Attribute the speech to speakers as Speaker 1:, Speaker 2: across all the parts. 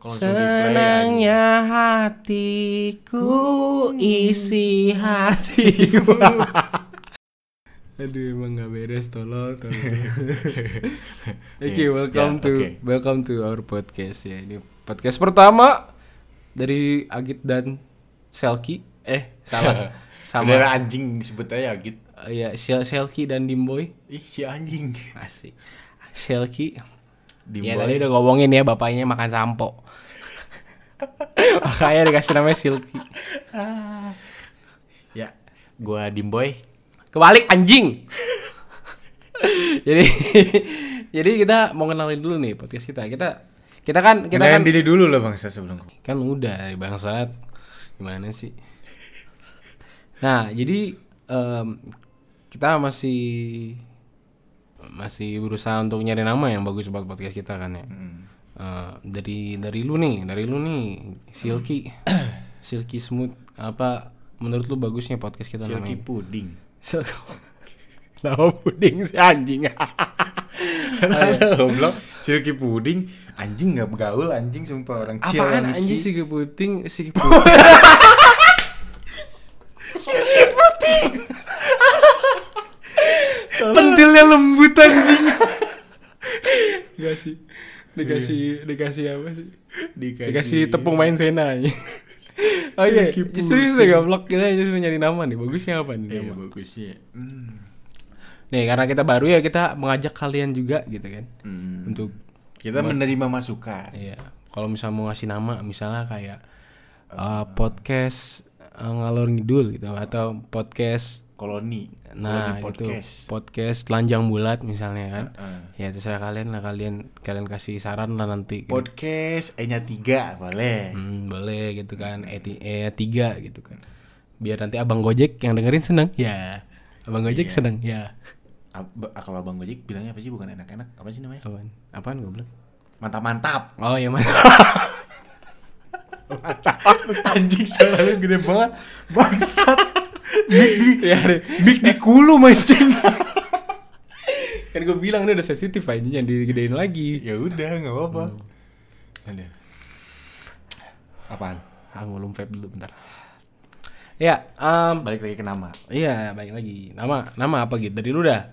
Speaker 1: Kalau langsung di play ya, anjing.
Speaker 2: Senangnya hatiku isi hatimu. Aduh emang gak beres tolol. tolol. Oke,
Speaker 1: Iya, ya,
Speaker 2: welcome to
Speaker 1: oke.
Speaker 2: welcome to our podcast ya. Ini podcast pertama dari Agit dan Selki. Eh, salah.
Speaker 1: Bener
Speaker 2: Sama
Speaker 1: anjing sebut aja gitu.
Speaker 2: eh, ya Sel- Selki dan Dimboy.
Speaker 1: Ih si anjing.
Speaker 2: Asik. Selki. Ya
Speaker 1: Dimulai.
Speaker 2: tadi udah ngomongin ya bapaknya makan sampo. Makanya dikasih namanya Silky.
Speaker 1: Ya, gua Dimboy.
Speaker 2: Kebalik anjing. jadi jadi kita mau kenalin dulu nih podcast kita. Kita kita kan kita kan
Speaker 1: Kenalin diri dulu lah bangsa sebelum.
Speaker 2: kan udah dari bangsat. Gimana sih? Nah, jadi em, kita masih masih berusaha untuk nyari nama yang bagus buat podcast kita kan ya. Eh, dari dari lu nih, dari lu nih, Silky, Silky Smooth apa menurut lu bagusnya podcast kita
Speaker 1: Silky
Speaker 2: namanya?
Speaker 1: puding.
Speaker 2: Sil- Nama puding si anjing. Oh, iya.
Speaker 1: Goblok. Silky puding anjing nggak gaul anjing sumpah orang chill
Speaker 2: Apaan
Speaker 1: MC.
Speaker 2: anjing Silky Puting, Silky Puting.
Speaker 1: Pentilnya lembut anjing.
Speaker 2: dikasih dikasih
Speaker 1: Iya.
Speaker 2: dikasih apa sih?
Speaker 1: Dikasih,
Speaker 2: Dikasih tepung main sena anjing. Oke,
Speaker 1: Silky Puting.
Speaker 2: serius deh goblok kita justru nyari nama nih. Bagusnya apa nih?
Speaker 1: Iya
Speaker 2: nama?
Speaker 1: bagusnya. Hmm.
Speaker 2: Nih, karena kita baru ya kita mengajak kalian juga gitu kan.
Speaker 1: Hmm.
Speaker 2: Untuk
Speaker 1: Kita menerima masukan.
Speaker 2: Iya, kalau misalnya mau ngasih nama, misalnya kayak eh, podcast eh, ngalor ngidul gitu atau podcast
Speaker 1: Koloni. Koloni
Speaker 2: nah gitu
Speaker 1: Oh, podcast.
Speaker 2: podcast telanjang bulat misalnya kan.
Speaker 1: Heeh. Oh.
Speaker 2: Ya terserah kalian lah kalian kalian kasih saran lah nanti. gitu.
Speaker 1: Podcast E-nya 3 boleh.
Speaker 2: Hmm, boleh gitu kan. E, ti- E tiga gitu kan. Biar nanti Abang Gojek yang dengerin seneng. Ya. Abang
Speaker 1: Iya.
Speaker 2: Gojek seneng. Ya.
Speaker 1: Ab- kalau Bang Gojek bilangnya apa sih bukan enak-enak apa sih namanya
Speaker 2: Apaan? Apaan goblok?
Speaker 1: mantap-mantap
Speaker 2: Oh, ya mana?
Speaker 1: anjing suara lu gede banget bangsat big di
Speaker 2: Ya,
Speaker 1: big di kulu mancing
Speaker 2: kan gue bilang ini udah sensitif aja jangan digedein lagi.
Speaker 1: ya udah nggak apa-apa ada apaan
Speaker 2: Ah, gue vape dulu bentar. Ya, em,
Speaker 1: balik lagi ke nama
Speaker 2: iya balik lagi. Nama nama apa gitu dari lu dah?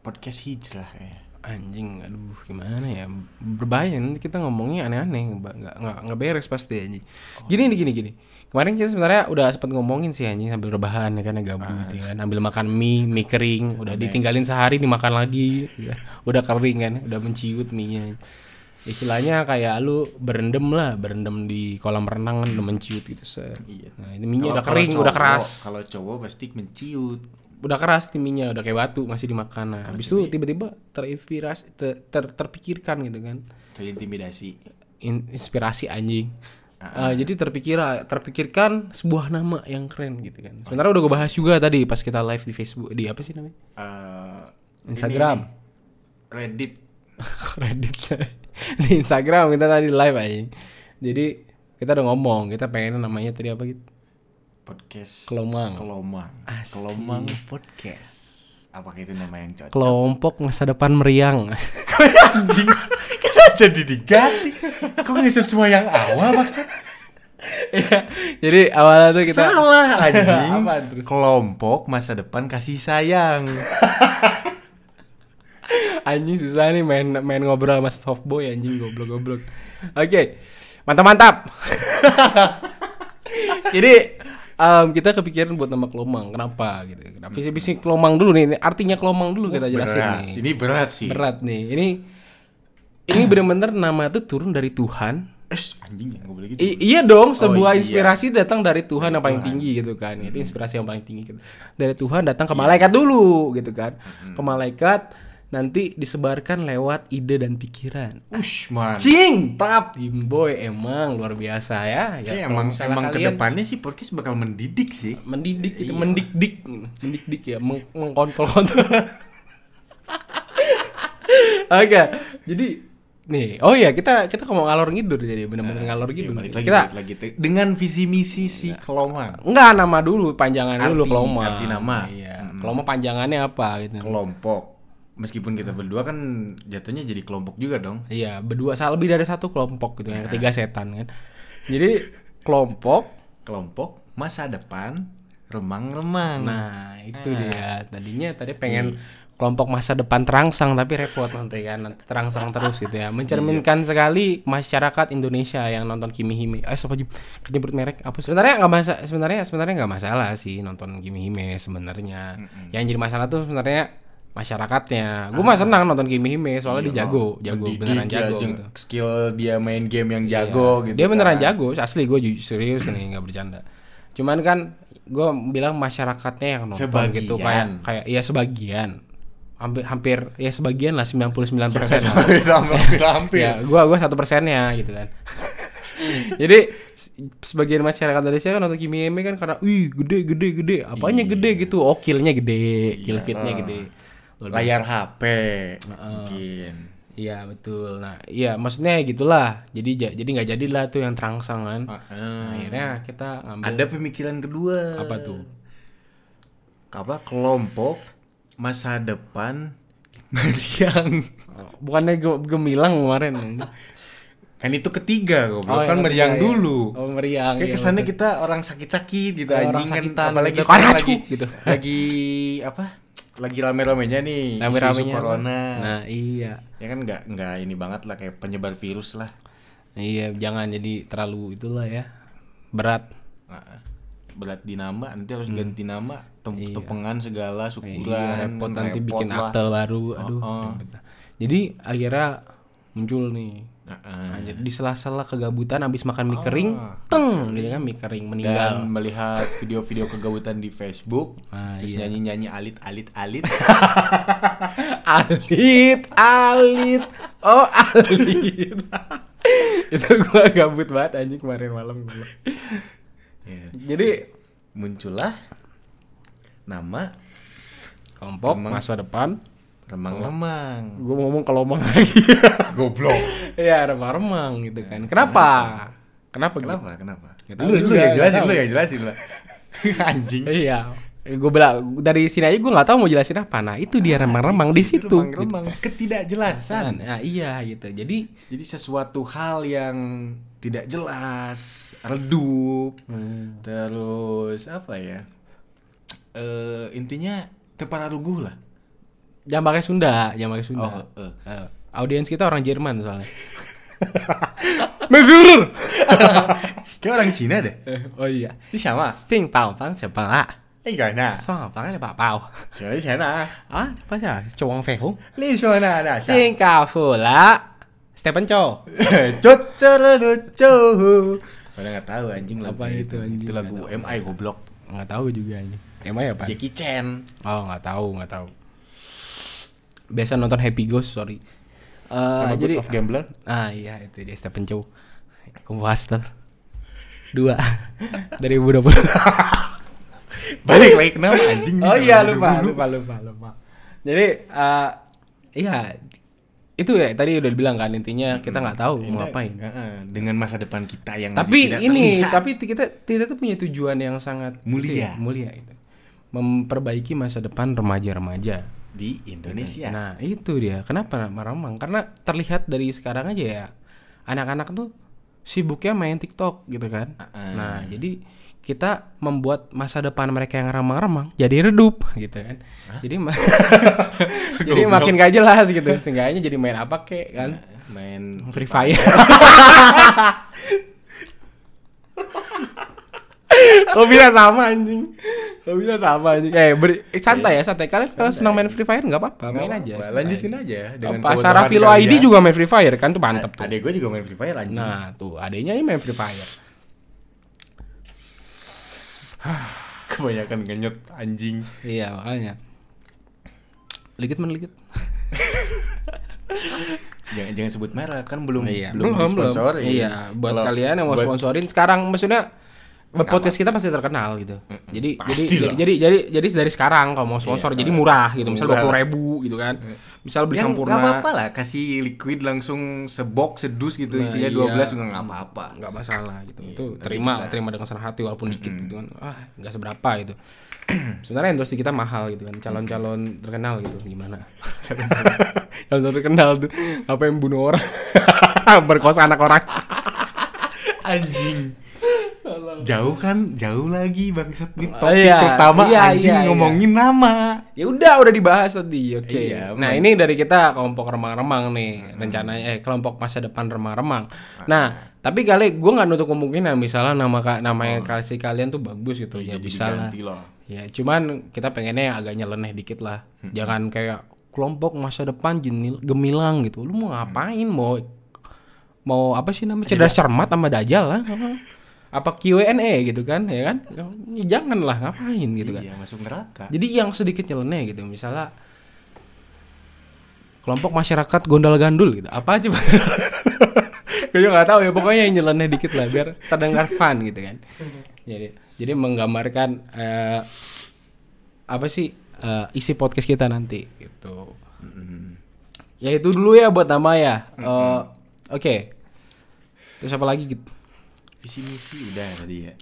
Speaker 1: podcast hijrah ya
Speaker 2: Anjing, aduh gimana ya? Berbahaya nanti kita ngomongnya aneh-aneh, nggak nggak- nggak nggak beres pasti anjing.
Speaker 1: Oh,
Speaker 2: Gini
Speaker 1: iya.
Speaker 2: nih gini gini. Kemarin kita sebenarnya udah sempat ngomongin sih anjing sambil rebahan ya kan ya gabut
Speaker 1: Ah, iya.
Speaker 2: ya kan ambil makan mie, mie kering, udah ditinggalin sehari dimakan lagi. Ya, udah kering kan, udah menciut mie-nya. Istilahnya kayak lu berendam lah, berendam di kolam renang kan udah menciut gitu. set.
Speaker 1: Iya.
Speaker 2: Nah, ini mie udah
Speaker 1: Kalau-
Speaker 2: kering,
Speaker 1: kalau
Speaker 2: udah
Speaker 1: cowok-
Speaker 2: keras
Speaker 1: kalau cowok pasti menciut
Speaker 2: udah keras timinya udah kayak batu masih dimakan nah habis itu tiba-tiba terinspirasi ter- ter- terpikirkan gitu kan
Speaker 1: terintimidasi
Speaker 2: In- inspirasi anjing Eh, jadi terpikir terpikirkan sebuah nama yang keren gitu kan sebenarnya udah gue bahas juga tadi pas kita live di Facebook di apa sih namanya
Speaker 1: Eh,
Speaker 2: Instagram
Speaker 1: Reddit
Speaker 2: Reddit di Instagram kita tadi live aja jadi kita udah ngomong kita pengen namanya tadi apa gitu
Speaker 1: podcast
Speaker 2: Kelomang.
Speaker 1: Kelomang
Speaker 2: Asik.
Speaker 1: Kelomang podcast apakah itu nama yang cocok
Speaker 2: kelompok masa depan meriang
Speaker 1: anjing kita jadi diganti kok nggak sesuai yang awal maksud
Speaker 2: jadi awalnya tuh kita
Speaker 1: salah anjing
Speaker 2: Apaan terus?
Speaker 1: kelompok masa depan kasih sayang
Speaker 2: Anjing susah nih main main ngobrol sama softboy anjing goblok-goblok. Oke. Mantap-mantap. Jadi em, kita kepikiran buat nama kelomang. Kenapa gitu? Kenapa sih bisnis kelomang dulu nih? Ini Artinya kelomang dulu kita jelasin
Speaker 1: berat
Speaker 2: nih.
Speaker 1: ini berat sih
Speaker 2: Berat nih. Ini ini bener-bener nama itu turun dari Tuhan.
Speaker 1: Es, anjing nggak boleh gitu
Speaker 2: I- iya dong, sebuah
Speaker 1: iya. Hmm.
Speaker 2: inspirasi datang dari Tuhan yang paling tinggi gitu kan. Itu inspirasi yang paling tinggi gitu. Dari Tuhan datang
Speaker 1: Iya.
Speaker 2: ke malaikat dulu gitu kan.
Speaker 1: Hmm.
Speaker 2: Ke malaikat nanti disebarkan lewat ide dan pikiran.
Speaker 1: ush man
Speaker 2: Cing, tap Boy emang luar biasa
Speaker 1: Kayaknya
Speaker 2: ya. Ya kalau
Speaker 1: Iya, emang
Speaker 2: misalnya
Speaker 1: emang Iya.
Speaker 2: kalian
Speaker 1: kedepannya sih podcast bakal mendidik sih
Speaker 2: mendidik itu mendikdik, mendikdik ya, meng- mengkontrol-kontrol. Oke, jadi nih, oh iya kita kita mau ngalor ngidul jadi bener-bener
Speaker 1: Oke,
Speaker 2: ngalor ngidul.
Speaker 1: Nah, iya, balik lagi,
Speaker 2: Iya, kita Iya.
Speaker 1: balik lagi. dengan visi misi si kelomang
Speaker 2: Enggak nama dulu, panjangan
Speaker 1: Arti-
Speaker 2: dulu Keloma.
Speaker 1: arti nama. Hmm.
Speaker 2: Iya. Keloma panjangannya apa gitu.
Speaker 1: kelompok meskipun kita berdua kan jatuhnya jadi kelompok juga dong.
Speaker 2: Iya, berdua salah lebih dari satu
Speaker 1: Iya.
Speaker 2: kelompok gitu, yang ketiga setan kan. Jadi kelompok.
Speaker 1: Kelompok masa depan remang-remang.
Speaker 2: Nah,
Speaker 1: Eh.
Speaker 2: itu dia. Tadinya tadi pengen kelompok masa depan terangsang tapi repot nanti kan nanti terangsang terus gitu
Speaker 1: Iya.
Speaker 2: ya. Mencerminkan sekali masyarakat Indonesia yang nonton Kimi Hime. Eh, sobat Jum- kejebret merek apa sebenarnya nggak masalah sebenarnya sebenarnya nggak masalah sih nonton Kimi Hime sebenarnya. Yang jadi masalah tuh sebenarnya masyarakatnya. Gue mah senang nonton Kimi Hime soalnya dia jago, jago
Speaker 1: Mendidik, Iya, oh.
Speaker 2: beneran
Speaker 1: dia
Speaker 2: jago.
Speaker 1: jeng-
Speaker 2: gitu. Iya.
Speaker 1: Skill dia main game yang jago gitu.
Speaker 2: Dia beneran
Speaker 1: kan.
Speaker 2: jago, asli gue serius nih nggak bercanda. Cuman kan gue bilang masyarakatnya yang nonton
Speaker 1: Sebagian.
Speaker 2: gitu kayak kayak ya sebagian. Hampir hampir ya sebagian lah 99 persen.
Speaker 1: Hampir-hampir.
Speaker 2: ya, gua gua satu persennya gitu kan. Jadi se- sebagian masyarakat Indonesia kan nonton Kimi Eme kan karena wih gede gede gede apanya
Speaker 1: Iya.
Speaker 2: gede gitu oh killnya gede kill fitnya
Speaker 1: Ah.
Speaker 2: gede
Speaker 1: Layar HP mungkin.
Speaker 2: iya betul nah iya maksudnya gitulah jadi ja- jadi nggak jadilah tuh yang terangsang kan
Speaker 1: Ah. Heeh.
Speaker 2: akhirnya kita ngambil
Speaker 1: Ada pemikiran kedua.
Speaker 2: apa tuh
Speaker 1: Apa kelompok masa depan meriang.
Speaker 2: bukannya ge- gemilang kemarin
Speaker 1: Kan itu ketiga goblok.
Speaker 2: Oh,
Speaker 1: kan
Speaker 2: yang
Speaker 1: meriang
Speaker 2: ketiga ya.
Speaker 1: dulu.
Speaker 2: oh meriang
Speaker 1: Kayak
Speaker 2: iya,
Speaker 1: kesannya
Speaker 2: betul.
Speaker 1: kita orang sakit-sakit gitu
Speaker 2: Orang
Speaker 1: anjing kan
Speaker 2: sakitan,
Speaker 1: apalagi
Speaker 2: gitu.
Speaker 1: sekarang
Speaker 2: Karacu,
Speaker 1: lagi
Speaker 2: gitu.
Speaker 1: lagi apa? Lagi rame-ramenya nih isu-isu
Speaker 2: rame-ramenya apa?
Speaker 1: corona.
Speaker 2: nah iya
Speaker 1: Ya kan nggak nggak ini banget lah kayak penyebar virus lah.
Speaker 2: iya jangan jadi terlalu itulah ya berat
Speaker 1: Nah, berat di nama nanti harus ganti nama tem- tepengan segala syukuran
Speaker 2: Hmm. iya repot nanti bikin
Speaker 1: lah. Oh,
Speaker 2: akte baru aduh ribet lah. jadi akhirnya muncul nih
Speaker 1: Heeh.
Speaker 2: Anjir, di sela-sela kegabutan abis makan mie kering, teng, gitu kan mie kering
Speaker 1: Ah. dan
Speaker 2: meninggal.
Speaker 1: melihat video-video kegabutan di Facebook
Speaker 2: Ah,
Speaker 1: terus nyanyi-nyanyi alit alit alit
Speaker 2: Alit, Alit, oh Alit. itu gua gabut banget anjing kemarin malam gua.
Speaker 1: Ya.
Speaker 2: Jadi
Speaker 1: muncullah nama
Speaker 2: kelompok masa depan,
Speaker 1: remang-remang
Speaker 2: gua ngomong kelomang lagi.
Speaker 1: goblok
Speaker 2: ya remang-remang gitu kan. Kenapa? Kenapa? gitu?
Speaker 1: kenapa kenapa
Speaker 2: Nggak tahu
Speaker 1: lu lu
Speaker 2: juga,
Speaker 1: yang jelasin
Speaker 2: nggak
Speaker 1: lu yang jelasin lah anjing
Speaker 2: Iya. Gue bilang dari sini aja gue nggak tahu mau jelasin apa. Nah itu dia remang-remang di situ.
Speaker 1: remang-remang ketidakjelasan
Speaker 2: Nah, iya gitu. Jadi
Speaker 1: Jadi sesuatu hal yang tidak jelas, redup, Hmm. terus apa ya? Eh intinya terpararuguh lah.
Speaker 2: jangan pakai Sunda, jangan pakai Sunda.
Speaker 1: Oh, eh.
Speaker 2: Eh, audiens kita orang Jerman soalnya. Mesur.
Speaker 1: Kayak orang Cina deh.
Speaker 2: oh iya.
Speaker 1: Ini sama.
Speaker 2: 姓宝方什么啊？
Speaker 1: Eh gak nah.
Speaker 2: 上房的宝宝
Speaker 1: Soalnya Cina.
Speaker 2: 啊，不是中绯红，
Speaker 1: Li Cina nah, ada.
Speaker 2: 新加坡啦，Stephen Chow。
Speaker 1: Cucu Pada nggak tahu anjing lagu
Speaker 2: Apa itu, anjing?
Speaker 1: Itu lagu MI goblok.
Speaker 2: nggak tahu juga ini. Emang ya pak?
Speaker 1: Jackie Chan.
Speaker 2: Oh nggak tahu nggak tahu. Biasa nonton Happy Ghost sorry. Eh,
Speaker 1: Sama
Speaker 2: jadi
Speaker 1: God of Gambler.
Speaker 2: ah iya itu dia Stephen Chow. Kumpuas tuh. Dua dari 2020.
Speaker 1: Balik lagi kenapa anjing? nih,
Speaker 2: Oh iya
Speaker 1: dulu,
Speaker 2: lupa,
Speaker 1: dulu.
Speaker 2: lupa lupa lupa. Jadi eh iya itu ya tadi udah dibilang kan intinya kita nggak tahu mau ngapain.
Speaker 1: Heeh, Dengan masa depan kita yang masih
Speaker 2: Tapi
Speaker 1: tidak
Speaker 2: ini
Speaker 1: terlihat.
Speaker 2: tapi kita kita tuh punya tujuan yang sangat
Speaker 1: Mulia.
Speaker 2: gitu ya, Iya. mulia itu. Memperbaiki masa depan remaja-remaja.
Speaker 1: di Indonesia.
Speaker 2: Nah, itu dia. Kenapa remang-remang? Karena terlihat dari sekarang aja ya anak-anak tuh sibuknya main TikTok gitu kan. Nah, jadi kita membuat masa depan mereka yang remang-remang jadi redup gitu kan. Jadi ma- jadi makin gak jelas gitu. Seenggaknya jadi main apa kek kan?
Speaker 1: main
Speaker 2: Free Fire. Lo bisa sama anjing. Lo bisa sama anjing. Eh, ber- eh, santai ya, santai. Kalian kalau senang main Free Fire nggak apa-apa, main aja. santai.
Speaker 1: lanjutin aja dengan
Speaker 2: Apa
Speaker 1: kewenangan
Speaker 2: Sarafilo
Speaker 1: kalian. ya.
Speaker 2: ID juga main Free Fire kan tuh mantep tuh.
Speaker 1: Adek gue juga main Free Fire anjing.
Speaker 2: Nah, tuh adanya ini main Free Fire.
Speaker 1: Kebanyakan ngenyut anjing.
Speaker 2: Iya, makanya. Likit men likit.
Speaker 1: Jangan jangan sebut merek kan belum
Speaker 2: Iya,
Speaker 1: belum, disponsori.
Speaker 2: Iya, buat
Speaker 1: Kalau-
Speaker 2: kalian yang mau
Speaker 1: buat-
Speaker 2: sponsorin sekarang maksudnya podcast kita pasti terkenal gitu. Jadi jadi,
Speaker 1: Pastilah.
Speaker 2: jadi jadi jadi dari sekarang kalau mau sponsor jadi murah gitu,
Speaker 1: Iya.
Speaker 2: misalnya
Speaker 1: Murah.
Speaker 2: dua ribu gitu kan. misal beli
Speaker 1: Yang nggak
Speaker 2: sampurna
Speaker 1: apa-apa lah kasih liquid langsung sebox sedus gitu
Speaker 2: Nah,
Speaker 1: isinya
Speaker 2: iya.
Speaker 1: 12 juga nggak apa-apa.
Speaker 2: nggak masalah gitu
Speaker 1: Iya,
Speaker 2: itu terima lah, terima dengan senang hati walaupun dikit gitu kan ah nggak seberapa gitu sebenarnya endorse di kita mahal gitu kan calon-calon terkenal gitu gimana calon terkenal tuh apa yang bunuh orang berkosa anak orang
Speaker 1: Anjing. jauh kan, jauh lagi bangsat nih
Speaker 2: Ah,
Speaker 1: topik
Speaker 2: iya.
Speaker 1: pertama
Speaker 2: Iya,
Speaker 1: anjing
Speaker 2: iya, iya.
Speaker 1: ngomongin nama.
Speaker 2: ya udah udah dibahas tadi oke
Speaker 1: Iya,
Speaker 2: nah ini dari kita kelompok remang-remang nih rencananya eh kelompok masa depan remang-remang nah tapi kali gue nggak nutup kemungkinan misalnya nama ka- nama yang kasih kalian tuh bagus gitu ya bisa lah
Speaker 1: Diganti loh.
Speaker 2: Ya, cuman kita pengennya yang agak nyeleneh dikit lah. Jangan kayak kelompok masa depan jenil, gemilang gitu. Lu mau ngapain? Mau mau apa sih namanya? Cerdas cermat sama dajal lah. Apa- Apa Q&A gitu kan, ya kan? Ya, Jangan lah ngapain gitu kan.
Speaker 1: Iya, masuk neraka.
Speaker 2: Jadi yang sedikit nyeleneh gitu. Misalnya kelompok masyarakat gondal gandul gitu. Apa aja? Bang? Gue juga gak tahu ya. Pokoknya yang nyeleneh dikit lah biar terdengar fun gitu kan. Jadi jadi menggambarkan eh, apa sih eh, isi podcast kita nanti gitu.
Speaker 1: Mm-hmm.
Speaker 2: Ya itu dulu ya buat nama ya. Eh, Oke. Terus apa lagi gitu?
Speaker 1: Visi misi udah tadi ya.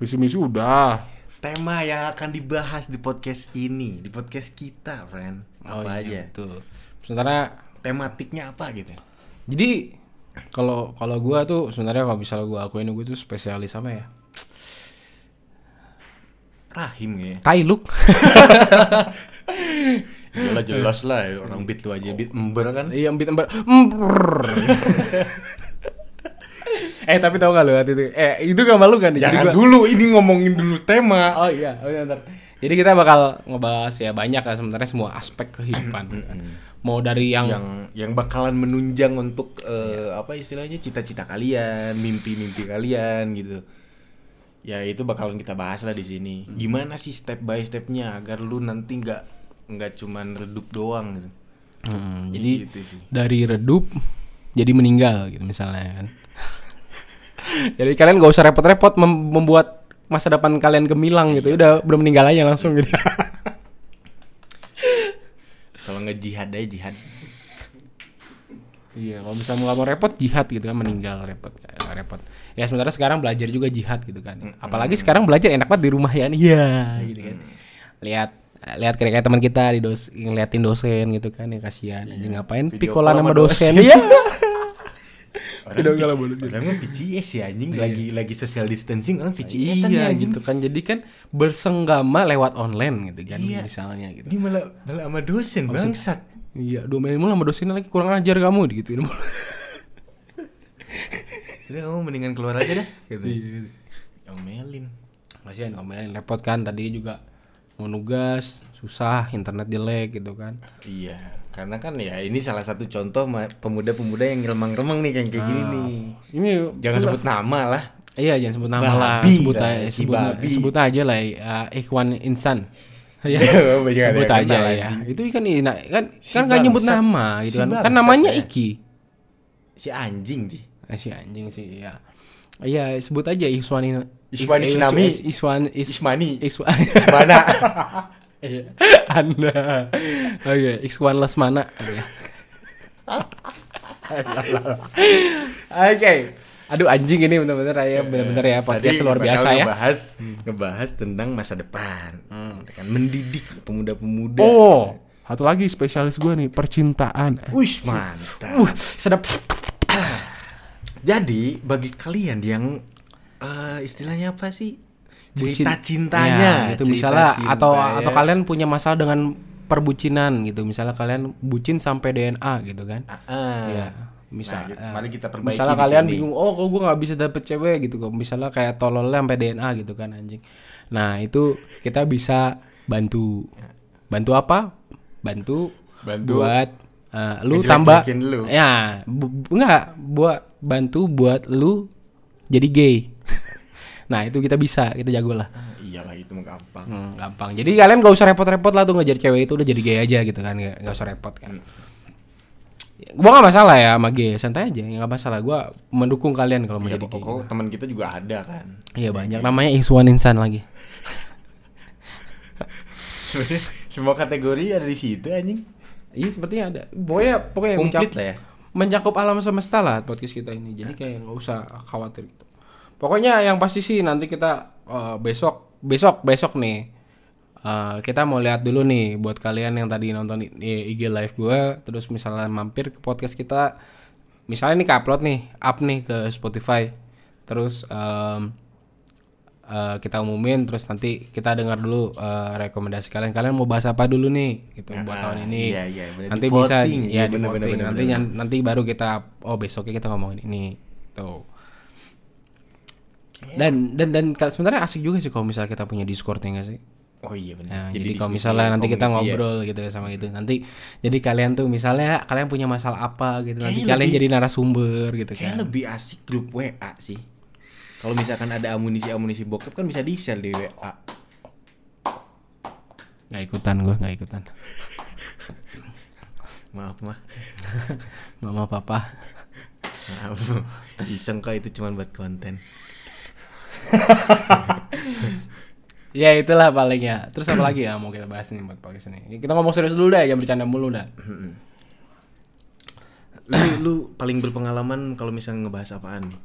Speaker 2: Misi misi udah.
Speaker 1: Tema yang akan dibahas di podcast ini, di podcast kita, friend. Apa aja?
Speaker 2: Tuh. Oh, iya, Sementara
Speaker 1: Tematiknya apa gitu?
Speaker 2: Jadi kalau kalau gua tuh sebenarnya kalau misalnya gua akuin gua tuh spesialis apa ya?
Speaker 1: Rahim ya.
Speaker 2: Tai look.
Speaker 1: Jelas jelas lah ya, orang beat lu aja beat ember kan.
Speaker 2: Iya, ambit ember. Ember. eh tapi tau gak lu waktu itu? Eh itu gak malu kan? Jadi
Speaker 1: Jangan
Speaker 2: gua-
Speaker 1: dulu ini ngomongin dulu tema.
Speaker 2: Oh iya, oh, iya, ntar. Jadi kita bakal ngebahas ya banyak lah sebenarnya semua aspek kehidupan. Mau dari yang,
Speaker 1: yang yang bakalan menunjang untuk eh, apa istilahnya cita-cita kalian, mimpi-mimpi kalian gitu. Ya itu bakalan kita bahas lah di sini.
Speaker 2: Hmm.
Speaker 1: Gimana sih step by stepnya agar lu nanti nggak nggak cuman redup doang gitu.
Speaker 2: Hmm, jadi
Speaker 1: Gitu sih.
Speaker 2: dari redup jadi meninggal gitu misalnya kan. jadi kalian gak usah repot-repot mem- membuat masa depan kalian gemilang gitu. Udah belum meninggal aja langsung gitu.
Speaker 1: Kalau ngejihad aja jihad.
Speaker 2: Iya, kalau misalnya nggak mau repot jihad gitu kan meninggal repot nggak repot. Ya sementara sekarang belajar juga jihad gitu kan. Apalagi sekarang belajar enak banget di rumah ya. Iya gitu kan. Lihat lihat kayak teman kita di dos ngeliatin dosen gitu kan ya kasihan anjing ngapain
Speaker 1: Video
Speaker 2: pikolan
Speaker 1: call
Speaker 2: sama
Speaker 1: sama dosen.
Speaker 2: dosen. Iya.
Speaker 1: Orang pi- orang mah PCS ya anjing lagi lagi social distancing orang PCS ya
Speaker 2: Iya
Speaker 1: anjing.
Speaker 2: gitu kan. Jadi kan bersenggama lewat online gitu kan
Speaker 1: Iya.
Speaker 2: misalnya gitu.
Speaker 1: Ini malah malah sama dosen bangsat.
Speaker 2: Iya, domain mulu sama dosennya lagi kurang ajar kamu gitu.
Speaker 1: Jadi kamu mendingan keluar aja dah gitu.
Speaker 2: Iya,
Speaker 1: Omelin.
Speaker 2: Kasihan omelin repot kan tadi juga mau nugas susah internet jelek gitu kan.
Speaker 1: Iya, karena kan ya ini salah satu contoh ma- pemuda-pemuda yang remang-remang nih kayak kayak gini
Speaker 2: Ah.
Speaker 1: nih.
Speaker 2: Ini
Speaker 1: Jangan sebut nama lah.
Speaker 2: iya jangan sebut nama lah,
Speaker 1: Babi
Speaker 2: sebut
Speaker 1: lah,
Speaker 2: aja
Speaker 1: si
Speaker 2: sebut,
Speaker 1: babi.
Speaker 2: sebut aja lah eh, Ikhwan Insan. Ya,
Speaker 1: Banyak Iya, ada
Speaker 2: sebut
Speaker 1: yang
Speaker 2: aja
Speaker 1: kenal,
Speaker 2: ya. Itu kan ina- kan
Speaker 1: Si
Speaker 2: kan nggak nyebut
Speaker 1: bangsat.
Speaker 2: nama
Speaker 1: Si
Speaker 2: gitu kan.
Speaker 1: bangsat
Speaker 2: Kan namanya
Speaker 1: ya.
Speaker 2: Iki.
Speaker 1: Si anjing di.
Speaker 2: Eh, si anjing sih ya. Iya, sebut aja Iswani
Speaker 1: Iswan
Speaker 2: Is- Is-
Speaker 1: Isnami.
Speaker 2: Is- Iswan Is-
Speaker 1: Ismani.
Speaker 2: Iswan
Speaker 1: Mana?
Speaker 2: Anda. Oh iya, Iswan Lesmana. Oke. Oke. Aduh anjing ini bener-bener
Speaker 1: Iya.
Speaker 2: ya, bener-bener ya podcast luar biasa ya. Hmm.
Speaker 1: Ngebahas, ngebahas tentang masa depan. Kan mendidik pemuda-pemuda.
Speaker 2: Oh, satu lagi spesialis gue nih percintaan.
Speaker 1: Wih, mantap.
Speaker 2: Uh, sedap.
Speaker 1: Jadi bagi kalian yang eh, istilahnya apa sih?
Speaker 2: Bucin.
Speaker 1: Cerita cintanya,
Speaker 2: Ya, gitu
Speaker 1: cerita
Speaker 2: misalnya
Speaker 1: cinta
Speaker 2: atau atau
Speaker 1: ya.
Speaker 2: kalian punya masalah dengan perbucinan gitu. Misalnya kalian bucin sampai DNA gitu kan.
Speaker 1: Ah, ah.
Speaker 2: Iya. Misal,
Speaker 1: Nah,
Speaker 2: eh,
Speaker 1: mari kita perbaiki
Speaker 2: misalnya
Speaker 1: di
Speaker 2: kalian
Speaker 1: sini.
Speaker 2: bingung, oh kok gue nggak bisa dapet cewek gitu kok. Misalnya kayak tololnya sampai DNA gitu kan anjing. Nah itu kita bisa bantu, bantu apa? Bantu,
Speaker 1: Bantu.
Speaker 2: buat eh, lu
Speaker 1: Ngejelek-jelekin
Speaker 2: tambah,
Speaker 1: lu.
Speaker 2: ya bu, bu- enggak buat bantu buat lu jadi gay. nah itu kita bisa, kita jago lah.
Speaker 1: Iyalah itu mah gampang.
Speaker 2: Hmm, gampang. Jadi kalian gak usah repot-repot lah tuh ngejar cewek itu udah jadi gay aja gitu kan, gak, gak usah repot kan. Gua gak masalah ya sama gay, santai aja, ya, gak masalah. Gua mendukung kalian kalau mau
Speaker 1: Ya,
Speaker 2: jadi gay.
Speaker 1: pokoknya teman kita juga ada kan.
Speaker 2: Iya banyak namanya Iswan Insan lagi.
Speaker 1: Sebenarnya semua kategori ada di situ anjing.
Speaker 2: Iya sepertinya ada. Boya pokoknya
Speaker 1: Komplit
Speaker 2: mencakup-
Speaker 1: lah ya.
Speaker 2: mencakup alam semesta lah podcast kita ini. Jadi kayak nggak usah khawatir gitu. Pokoknya yang pasti sih nanti kita eh, besok besok besok nih eh, kita mau lihat dulu nih buat kalian yang tadi nonton i- i- IG live gua terus misalnya mampir ke podcast kita misalnya nih upload nih up nih ke Spotify terus em, eh, kita umumin terus nanti kita dengar dulu eh, rekomendasi kalian kalian mau bahas apa dulu nih gitu buat tahun ini
Speaker 1: iya, iya, bener.
Speaker 2: nanti
Speaker 1: Di
Speaker 2: bisa
Speaker 1: voting. Iya,
Speaker 2: ya di
Speaker 1: bener, bener,
Speaker 2: voting.
Speaker 1: bener,
Speaker 2: nanti nyan- Kan nanti baru kita oh besoknya kita ngomongin ini tuh dan dan dan kal- sebenarnya asik juga sih kalau misalnya kita punya Discord ya nggak sih
Speaker 1: Oh iya benar.
Speaker 2: Nah, jadi, kalau misalnya nanti kita
Speaker 1: iya.
Speaker 2: ngobrol gitu ya sama itu nanti jadi kalian tuh misalnya kalian punya masalah apa gitu nanti
Speaker 1: Kayaknya
Speaker 2: kalian
Speaker 1: lebih-
Speaker 2: jadi narasumber gitu kan
Speaker 1: Kayaknya lebih asik grup WA sih. Kalau misalkan ada amunisi-amunisi bokep kan bisa di-share di WA.
Speaker 2: nggak ikutan gua nggak ikutan
Speaker 1: Maaf mah.
Speaker 2: mama papa
Speaker 1: Maaf. Iseng kok itu cuma buat konten.
Speaker 2: Ya itulah palingnya. Terus apa lagi ya mau kita bahas nih buat podcast ini? Kita ngomong serius dulu dah, jangan bercanda mulu dah.
Speaker 1: Lu, lu paling berpengalaman kalau misalnya ngebahas apaan nih?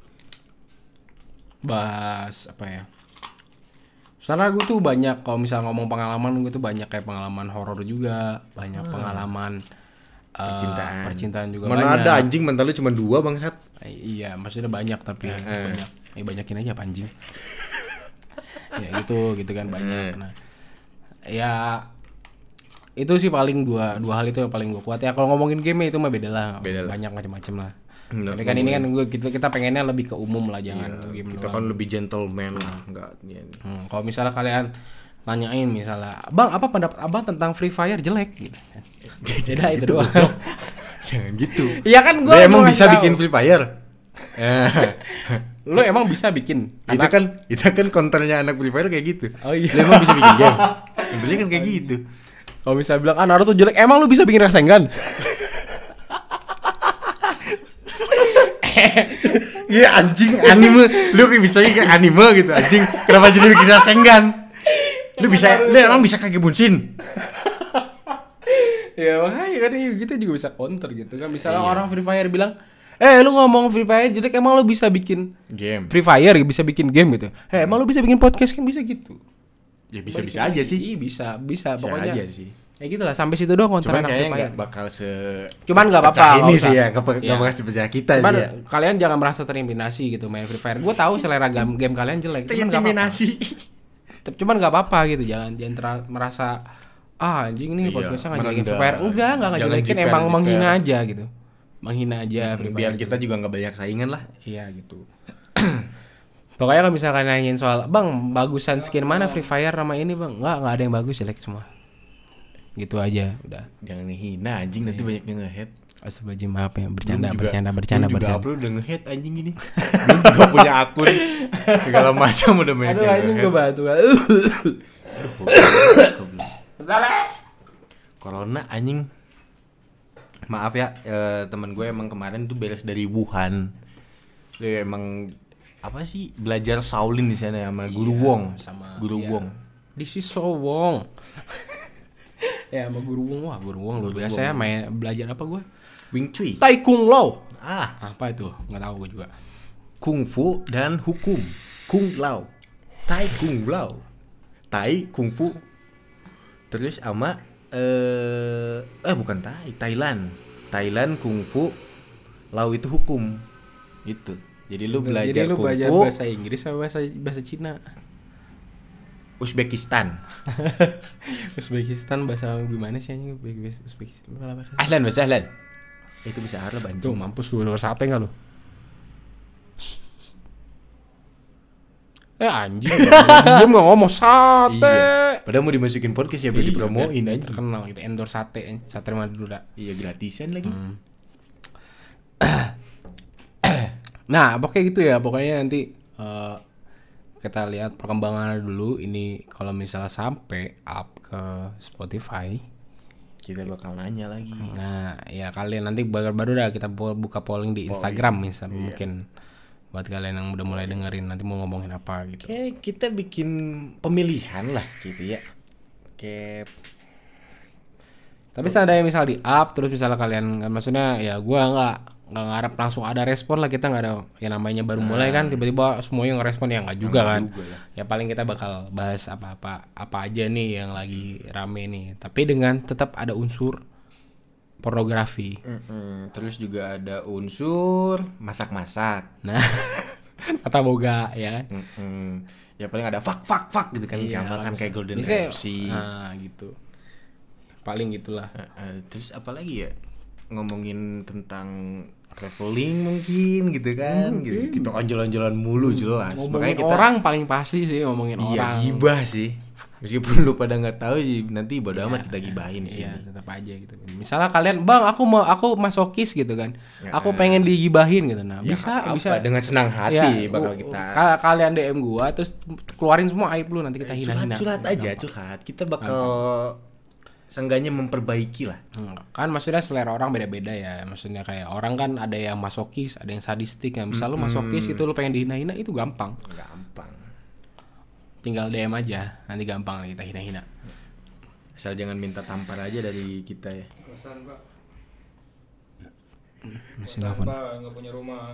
Speaker 2: Bahas apa ya? Soalnya gue tuh banyak kalau misal ngomong pengalaman gue tuh banyak kayak pengalaman horor juga, banyak pengalaman eh,
Speaker 1: Hmm. Percintaan.
Speaker 2: percintaan juga
Speaker 1: Mana
Speaker 2: banyak.
Speaker 1: ada anjing mental lu cuma dua bangsat.
Speaker 2: Eh, Iya, maksudnya banyak tapi banyak. Eh, banyakin aja apa, anjing. ya gitu, gitu kan
Speaker 1: Eh.
Speaker 2: banyak. Nah, ya itu sih paling dua dua hal itu yang paling gue kuat ya kalau ngomongin game itu mah beda lah
Speaker 1: Beda lah.
Speaker 2: banyak macam-macam lah
Speaker 1: Hmm,
Speaker 2: tapi kan ini kan gue kita, kita pengennya lebih ke umum lah jangan game
Speaker 1: Kita kan lebih gentleman lah, enggak ya.
Speaker 2: Hmm, kalau misalnya kalian tanyain misalnya bang apa pendapat abang tentang free fire jelek gitu kan jadi itu doang
Speaker 1: Jangan gitu.
Speaker 2: Iya kan
Speaker 1: Lu
Speaker 2: gue
Speaker 1: emang bisa bikin Free Fire? Eh,
Speaker 2: lu emang bisa bikin
Speaker 1: itu kan itu kan konternya anak Free Fire kayak gitu.
Speaker 2: Oh iya.
Speaker 1: Lu
Speaker 2: Oh,
Speaker 1: emang bisa bikin game. Sebenarnya kan kayak gitu.
Speaker 2: Kalau misalnya bilang, ah Naruto jelek, emang lu bisa bikin Rasengan?
Speaker 1: Iya anjing anime. Lu kayak bisa kayak anime gitu anjing. Kenapa jadi bikin rasengan? Lu bisa lu emang bisa kaki bunsin.
Speaker 2: ya makanya kan ya, kita juga bisa counter gitu kan. Misalnya orang Free Fire bilang, eh lu ngomong Free Fire jelek, emang lu bisa bikin
Speaker 1: Game.
Speaker 2: Free Fire, bisa bikin game gitu. Eh emang lu bisa bikin podcast kan bisa gitu.
Speaker 1: Ya bisa-bisa aja sih.
Speaker 2: Iya bisa, bisa,
Speaker 1: Bisa
Speaker 2: pokoknya.
Speaker 1: aja sih.
Speaker 2: Ya gitu lah, sampai situ doang counter
Speaker 1: Cuman
Speaker 2: anak
Speaker 1: kayaknya
Speaker 2: Free Fire.
Speaker 1: nggak bakal se
Speaker 2: Cuman nggak apa-apa,
Speaker 1: pecah Ini
Speaker 2: nggak
Speaker 1: sih
Speaker 2: usah.
Speaker 1: ya, nggak pe- nggak
Speaker 2: Iya.
Speaker 1: bakal sepecah kita
Speaker 2: Cuman
Speaker 1: sih ya.
Speaker 2: kalian jangan merasa terintimidasi gitu main Free Fire. Gue tahu selera game, game kalian jelek. cuman nggak apa-apa. Tep- cuman nggak apa-apa gitu jangan jangan tera- merasa ah anjing
Speaker 1: Iya,
Speaker 2: ini podcastnya nggak jelekin
Speaker 1: merendah.
Speaker 2: Free Fire enggak enggak
Speaker 1: Jangan
Speaker 2: ngejelekin
Speaker 1: jiper,
Speaker 2: emang
Speaker 1: jiper.
Speaker 2: menghina aja gitu menghina aja Free Fire
Speaker 1: Biar kita juga nggak banyak saingan lah.
Speaker 2: iya gitu pokoknya kalau misalkan nanyain soal bang bagusan skin mana Free Fire sama ini bang enggak enggak ada yang bagus jelek semua gitu aja udah
Speaker 1: Jangan ngehina anjing
Speaker 2: Iya.
Speaker 1: nanti banyak yang nge-hate.
Speaker 2: Astagfirullahaladzim maaf ya bercanda
Speaker 1: Belum juga-
Speaker 2: bercanda bercanda
Speaker 1: belum juga
Speaker 2: bercanda
Speaker 1: upload udah nge-hate anjing ini Belum juga punya akun Segala macam udah banyak
Speaker 2: aduh anjing gue batu eh.
Speaker 1: Corona anjing Maaf ya eh, teman gue emang kemarin tuh beres dari Wuhan Dia emang apa sih belajar Shaolin di sana sama Guru Wong
Speaker 2: sama-
Speaker 1: Guru
Speaker 2: iya.
Speaker 1: Wong
Speaker 2: This is so wong. ya sama guru wong wah guru wong luar biasa ya main belajar apa gua?
Speaker 1: Wing Chun
Speaker 2: Tai Kung Lao.
Speaker 1: ah
Speaker 2: Apa itu? Nggak tahu gua juga.
Speaker 1: Kung Fu dan hukum Kung Lao Tai Kung Lao Tai Kung Fu terus sama eh eh bukan Tai Thailand Thailand Kung Fu Lao itu hukum gitu jadi lu belajar
Speaker 2: Jadi lu
Speaker 1: Kung
Speaker 2: belajar
Speaker 1: Fu
Speaker 2: bahasa Inggris sama bahasa bahasa Cina?
Speaker 1: Uzbekistan
Speaker 2: Uzbekistan bahasa gimana sih anjing Uzbek- Uzbekistan? Apa bahasa?
Speaker 1: Ahlan wa sahlan itu bisa Arab
Speaker 2: Tuh
Speaker 1: anjing
Speaker 2: mampus lu luar sate enggak lu? Eh anjing, dia nggak ngomong sate.
Speaker 1: iya padahal mau dimasukin podcast ya biar
Speaker 2: Iya,
Speaker 1: dipromoin
Speaker 2: biar
Speaker 1: anjing
Speaker 2: Terkenal gitu, endorse sate, anjing. sate Madura.
Speaker 1: iya gratisan lagi
Speaker 2: Hmm. Nah, pokoknya gitu ya. Pokoknya nanti eh, kita lihat perkembangannya dulu. Ini kalau misalnya sampai up ke Spotify,
Speaker 1: kita bakal nanya lagi
Speaker 2: nah ya kalian nanti baru baru dah kita bu- buka polling di Instagram misal mungkin buat kalian yang udah mulai dengerin nanti mau ngomongin apa gitu.
Speaker 1: Kayak kita bikin pemilihan lah gitu ya. Kayak
Speaker 2: Tapi seandainya misal di up terus misalnya kalian maksudnya ya gua nggak nggak ngarap langsung ada respon lah kita nggak ada ya namanya
Speaker 1: Nah.
Speaker 2: baru mulai kan tiba-tiba semuanya ngerespon ya nggak juga kan ya. paling kita bakal bahas apa-apa apa aja nih yang lagi rame nih tapi dengan tetap ada unsur pornografi
Speaker 1: Mm-mm. Terus juga ada unsur masak-masak.
Speaker 2: nah atau boga ya kan
Speaker 1: Mm-mm. Ya paling ada fuck fuck fuck gitu kan
Speaker 2: Iya,
Speaker 1: yang makan kayak Golden
Speaker 2: Biasanya-
Speaker 1: Ramsay.
Speaker 2: nah gitu paling gitulah
Speaker 1: Eh, eh, terus apa lagi ya? Ngomongin tentang traveling mungkin gitu kan. Gitu. Kita kan jalan-jalan mulu jelas.
Speaker 2: Hmm. ngomongin
Speaker 1: Makanya kita
Speaker 2: orang paling pasti sih ngomongin
Speaker 1: iya
Speaker 2: orang
Speaker 1: gibah sih. Meskipun lu pada nggak tahu sih, nanti bodo amat kita gibahin sih.
Speaker 2: Iya, tetap aja gitu. Misalnya kalian, "Bang, aku mau aku masokis gitu kan. Aku pengen digibahin gitu." Nah, bisa bisa
Speaker 1: Ya. dengan senang hati
Speaker 2: Ya,
Speaker 1: bakal
Speaker 2: u- u-
Speaker 1: kita
Speaker 2: kal- kalian DM gua terus keluarin semua aib lu nanti kita
Speaker 1: Eh,
Speaker 2: hina-hina.
Speaker 1: curhat-curhat aja, curhat. Kita bakal seenggaknya memperbaiki lah.
Speaker 2: Hmm, Kan maksudnya selera orang beda-beda ya. Maksudnya kayak orang kan ada yang masokis, ada yang sadistik. Nah, misal lu
Speaker 1: Hmm.
Speaker 2: masokis gitu lu pengen dihina-hina itu gampang.
Speaker 1: Gampang.
Speaker 2: Tinggal DM aja, nanti gampang kita hina-hina.
Speaker 1: Asal jangan minta tampar aja dari kita ya.
Speaker 3: Kosan pak
Speaker 2: Masih
Speaker 3: Kosan
Speaker 2: nelfon.
Speaker 3: pak nggak punya rumah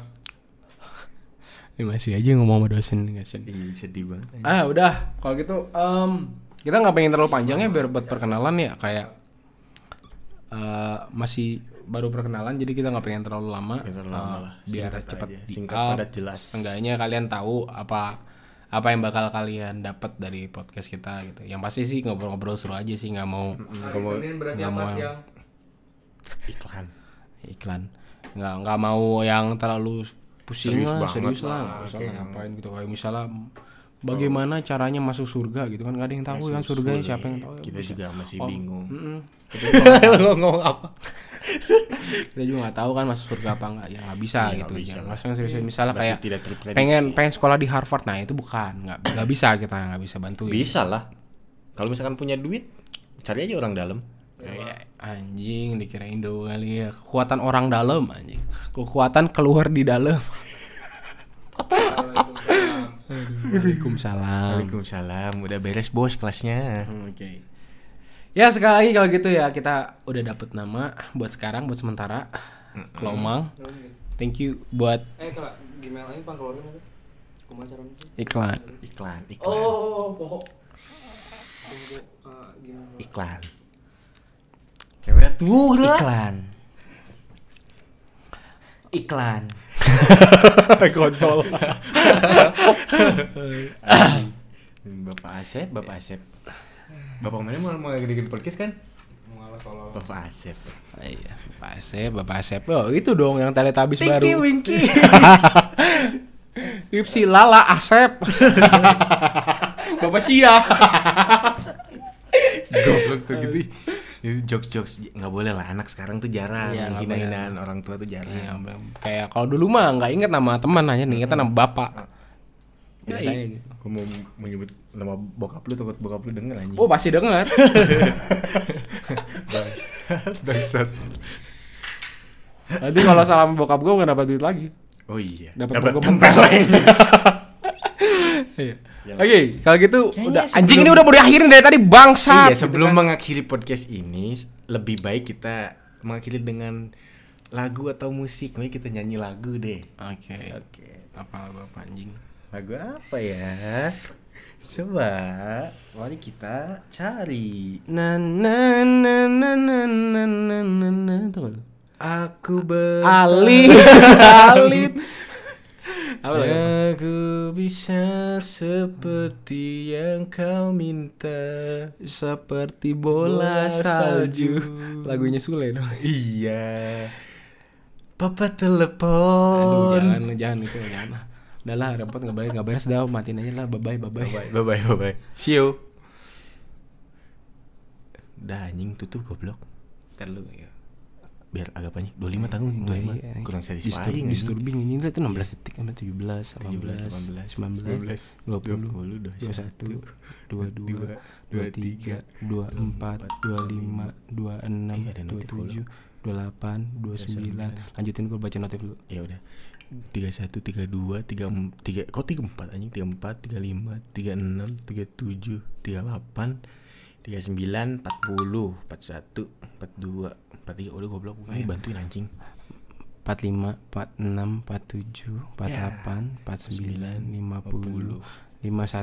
Speaker 2: Ini masih aja ngomong sama dosen kasihan.
Speaker 1: Ih, sedih banget.
Speaker 2: Ah udah, kalau gitu em, kita nggak pengen terlalu panjang ya biar buat perkenalan ya kayak eh, masih baru perkenalan jadi kita nggak pengen terlalu lama.
Speaker 1: Nggak terlalu
Speaker 2: Eh,
Speaker 1: lama lah.
Speaker 2: biar
Speaker 1: Singkat
Speaker 2: cepat
Speaker 1: aja.
Speaker 2: di
Speaker 1: Singkat,
Speaker 2: up.
Speaker 1: padat, jelas.
Speaker 2: Seenggaknya kalian tahu apa apa yang bakal kalian dapat dari podcast kita gitu. Yang pasti sih ngobrol-ngobrol seru aja sih nggak mau
Speaker 3: hari Senin berarti apa siang
Speaker 1: Iklan.
Speaker 2: iklan nggak nggak mau yang terlalu pusing
Speaker 1: Serius
Speaker 2: lah
Speaker 1: banget
Speaker 2: serius
Speaker 1: lah,
Speaker 2: lah misalnya ngapain gitu kayak misalnya bagaimana caranya masuk surga gitu kan nggak ada yang tahu kan surga siapa yang tahu
Speaker 1: Kita juga masih bingung.
Speaker 2: lo ngomong apa kita juga nggak tahu kan masuk surga apa nggak ya nggak bisa gitu
Speaker 1: Iya, bisa Iya.
Speaker 2: ya maksudnya serius misalnya
Speaker 1: Masih
Speaker 2: kayak
Speaker 1: tidak terprediksi.
Speaker 2: pengen pengen sekolah di Harvard nah itu bukan nggak nggak bisa kita nggak bisa bantu
Speaker 1: Bisa lah. Kalau misalkan punya duit, cari aja orang dalam.
Speaker 2: anjing dikira Indo kali ya kekuatan orang dalam anjing kekuatan keluar di dalam
Speaker 3: Waalaikumsalam.
Speaker 2: Waalaikumsalam
Speaker 1: Waalaikumsalam. Udah beres bos kelasnya.
Speaker 2: Oke. Ya sekali lagi kalau gitu ya kita udah dapet nama buat sekarang buat sementara. Kelomang. Thank you buat
Speaker 3: eh kalau gmail aja pak keluarin aja kumaha caranya sih
Speaker 2: iklan.
Speaker 1: Iklan, iklan,
Speaker 3: oh pohon tunggu Kak, gimana
Speaker 1: iklan. Cewek tuh lah.
Speaker 2: Iklan. Iklan.
Speaker 1: Kontol. Bapak Asep, Bapak Asep. Bapak mana mau mau ngedikin podcast kan?
Speaker 3: mau ngalah tolong
Speaker 1: Bapak Asep.
Speaker 2: Iya, Bapak Asep, Bapak Asep. Oh, itu dong yang teletabis
Speaker 1: Tinky
Speaker 2: baru.
Speaker 1: Winky.
Speaker 2: Ipsi Lala Asep. Bapak Sia.
Speaker 1: Goblok tuh gitu. Itu jokes-jokes nggak boleh lah anak sekarang tuh jarang
Speaker 2: Iya, nggak
Speaker 1: hina-hinaan orang tua tuh
Speaker 2: Iya,
Speaker 1: jarang.
Speaker 2: kayak kalau dulu mah nggak inget nama teman aja nih, inget nama bapak. Biasanya gitu.
Speaker 1: Gue mau menyebut nama bokap lu takut bokap lu denger anjing.
Speaker 2: Oh, pasti dengar.
Speaker 1: Bangsat.
Speaker 2: Nanti kalau salam bokap gue nggak dapat duit lagi.
Speaker 1: Oh iya.
Speaker 2: Dapat
Speaker 1: Dapat
Speaker 2: bokap.
Speaker 1: tempeleng.
Speaker 2: Oke, kalau gitu
Speaker 1: Kayaknya
Speaker 2: udah
Speaker 1: sebelum-
Speaker 2: anjing ini udah mau diakhirin dari tadi bangsat.
Speaker 1: Iya, sebelum mengakhiri podcast ini, s- lebih baik kita mengakhiri dengan lagu atau musik. Mari kita nyanyi lagu deh.
Speaker 2: Oke.
Speaker 1: Oke.
Speaker 2: Apa lagu apa anjing?
Speaker 1: Lagu apa ya? Coba mari kita cari.
Speaker 2: Na na na na na na na na na Tunggu dulu.
Speaker 1: Aku ber
Speaker 2: Alit Alit
Speaker 1: Aku bisa seperti yang kau minta.
Speaker 2: Seperti
Speaker 1: Bola
Speaker 2: bola salju
Speaker 1: salju.
Speaker 2: Lagunya Sule dong
Speaker 1: Iya. Papa
Speaker 2: Aduh
Speaker 1: telepon.
Speaker 2: jangan jangan itu jangan lah Udah lah repot gak bayar gak bayar sudah matiin aja lah bye bye bye bye
Speaker 1: Bye bye bye bye. See you. Udah anjing tutup goblok.
Speaker 2: Ntar lu ya
Speaker 1: Biar agak banyak. 25 tanggung
Speaker 2: Iya,
Speaker 1: 25. Kurang satisfying.
Speaker 2: Disturbing,
Speaker 1: anjing.
Speaker 2: disturbing ini itu 16 detik sampai 17, 18,
Speaker 1: 19,
Speaker 2: 19, 20, 21, 22, 23, 24, 25,
Speaker 1: Iya,
Speaker 2: 26, 27, 28, 29. Lanjutin gue baca notif dulu.
Speaker 1: Ya udah. 31 32 3 3 kok 34 anjing 34 35 36 37 38 39, 40, 41, 42, 43. Udah goblok. Ayo bantuin anjing. Iya,
Speaker 2: 45, 46, 47, 48, 49, 50, 51,